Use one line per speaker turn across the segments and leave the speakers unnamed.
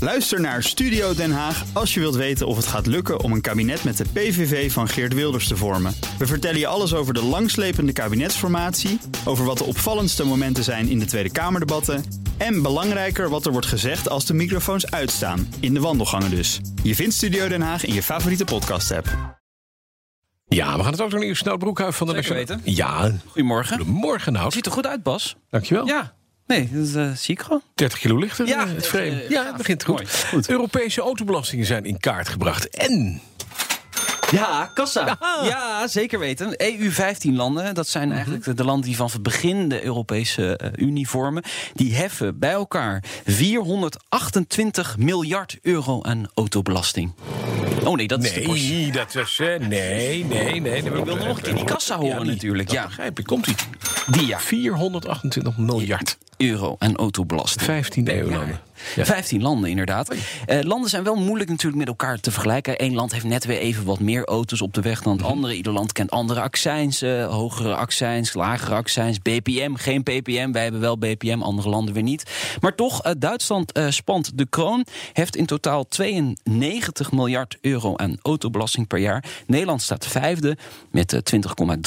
Luister naar Studio Den Haag als je wilt weten of het gaat lukken om een kabinet met de PVV van Geert Wilders te vormen. We vertellen je alles over de langslepende kabinetsformatie, over wat de opvallendste momenten zijn in de Tweede Kamerdebatten en belangrijker wat er wordt gezegd als de microfoons uitstaan, in de wandelgangen dus. Je vindt Studio Den Haag in je favoriete podcast-app.
Ja, we gaan het ook nog nieuws. Snout Broekhuis van de
Lekker
Nationale- Ja,
Goedemorgen.
morgen nou.
Ziet er goed uit, Bas.
Dankjewel.
Ja. Nee, dat eh, zie ik gewoon.
30 kilo lichter,
Ja,
eh, het
eh,
frame.
eh,
ja,
gaaf.
het begint goed.
Mooi.
Europese autobelastingen zijn in kaart gebracht. En
Ja, kassa. Ja, zeker weten. EU-15 landen, dat zijn eigenlijk de, de landen die van het begin de Europese eh, Unie vormen. Die heffen bij elkaar 428 miljard euro aan autobelasting. Oh nee, dat is de Porsche.
nee, dat was... eh, nee, nee, nee. Ik
wilde nog een keer die kassa horen natuurlijk, ja.
begrijp ik. Komt-ie.
Die ja,
428 miljard.
euro aan autobelasting.
15 eeuw landen. Ja.
15 landen inderdaad. Eh, landen zijn wel moeilijk natuurlijk met elkaar te vergelijken. Eén land heeft net weer even wat meer auto's op de weg dan het
Mhm.
andere. Ieder land kent andere accijns, eh, hogere accijns, lagere accijns. BPM, geen PPM. Wij hebben wel BPM, andere landen weer niet. Maar toch, eh, Duitsland eh, spant de kroon. Heft in totaal 92 miljard euro aan autobelasting per jaar. Nederland staat vijfde met eh,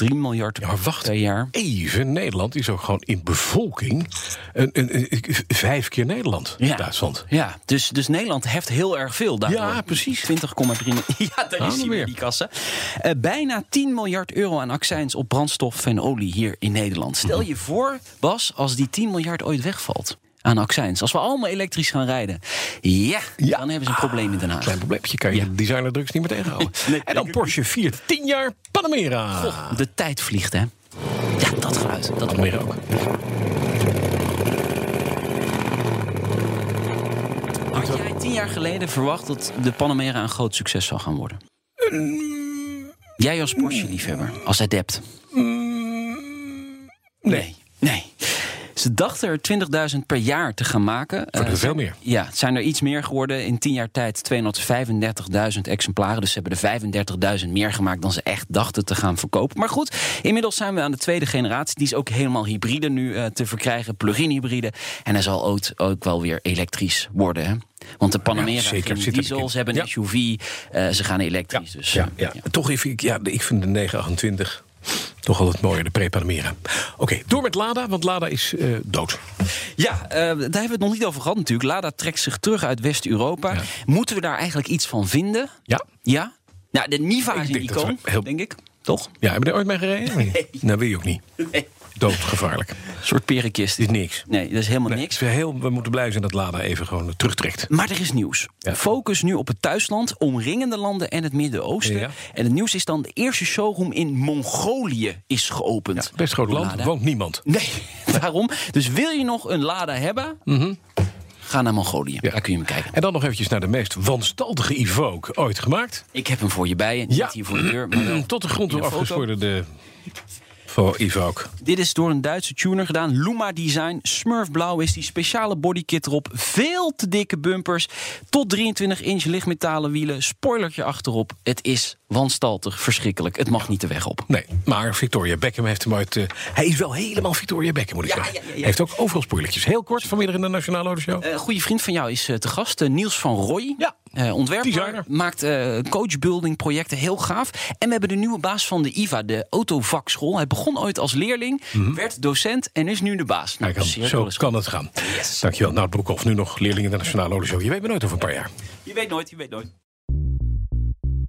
20,3 miljard
Ja, maar wacht
per jaar.
even. Nederland is ook gewoon in bevolking een, een, een- een- vijf keer Nederland.
Ja.
Duitsland.
Ja, dus, dus Nederland heft heel erg veel daardoor.
Ja, precies.
20,3 Ja, daar
Ah,
is hij
weer.
weer, die kassa. Eh, bijna 10 miljard euro aan accijns op brandstof en olie hier in Nederland. Stel je voor, Bas, als die 10 miljard ooit wegvalt aan accijns. Als we allemaal elektrisch gaan rijden. Ja,
Ja.
dan hebben ze een probleem in Den Haag.
Klein probleempje, kan je de designer drugs niet meer tegenhouden. en dan Porsche viert 10 jaar Panamera.
Goh, de tijd vliegt, hè. Ja, dat geluid. Dat
Panamera ook.
Had jij tien jaar geleden verwacht dat de Panamera een groot succes zou gaan worden? Jij als Porsche-liefhebber, als adept.
Mm, Nee.
Nee. Ze dachten er 20.000 per jaar te gaan maken.
Wordt
Eh,
er veel meer.
ja, het zijn er iets meer geworden. In 10 jaar tijd 235.000 exemplaren. Dus ze hebben er 35.000 meer gemaakt dan ze echt dachten te gaan verkopen. Maar goed, inmiddels zijn we aan de tweede generatie. Die is ook helemaal hybride nu eh, te verkrijgen. Plug-in hybride. En hij zal ook, ook wel weer elektrisch worden. Hè? Want de Panamera
Ja, zeker.
ging
Zit er
diesel,
in.
ze hebben
Ja.
een SUV. eh, ze gaan elektrisch. dus,
ja,
eh,
ja. Toch even, ik, ja, ik vind de 928 toch altijd mooier, de pre-Panamera. Oké, door met Lada, want Lada is eh, dood.
Ja, eh, daar hebben we het nog niet over gehad natuurlijk. Lada trekt zich terug uit West-Europa.
Ja.
Moeten we daar eigenlijk iets van vinden?
Ja.
Ja? Nou, de Niva
Ik
is een
denk dat
icoon,
we heel-
denk ik. Toch?
Ja, hebben we er ooit mee gereden? Nee. Nou, wil je ook niet.
Nee.
Doodgevaarlijk.
Een soort perenkist.
Dit is niks.
Nee, dat is helemaal
Nee,
niks.
We, heel, we moeten blij zijn dat Lada even gewoon terugtrekt.
Maar er is nieuws.
Ja.
Focus nu op het thuisland, omringende landen en het Midden-Oosten.
Ja.
En het nieuws is dan de eerste showroom in Mongolië is geopend.
Best groot land,
Lada.
woont niemand.
Nee, daarom. Dus wil je nog een Lada hebben? Ga naar Mongolië.
Mhm. Ja.
Daar kun je hem kijken.
En dan nog eventjes naar de meest wanstaltige Evoque ooit gemaakt.
Ik heb hem voor je bij je.
Ja.
Niet hier voor de deur, maar wel
Tot de grond
in
toe
Nou. een foto.
afgeschorderde voor Evoque.
Dit is door een Duitse tuner gedaan. Luma Design. Smurfblauw is die speciale bodykit erop. Veel te dikke bumpers. Tot 23 inch lichtmetalen wielen. Spoilertje achterop. Het is wanstaltig. Verschrikkelijk. Het mag niet de weg op.
Nee, maar Victoria Beckham heeft hem uit. eh, hij is wel helemaal Victoria Beckham, moet ik
Ja,
zeggen.
ja, Eh, ja, ja.
Heeft ook overal spoilertjes. Heel kort vanmiddag in de Nationale Autoshow.
Een goede vriend van jou is eh, te gast, eh, Niels van Roy.
Ja.
Eh, ontwerper,
Designer.
maakt eh, coachbuilding projecten, heel gaaf. En we hebben de nieuwe baas van de IVA, de autovakschool. Hij begon ooit als leerling, werd docent en is nu de baas. Nou,
Mhm. Kijk aan,
cirkel
zo
is goed.
kan het gaan.
Yes.
Dankjewel, Nout Broekhoff. Nu nog leerling in de Nationale Autoshow. Je weet me nooit over een paar jaar.
Je weet nooit, je weet nooit.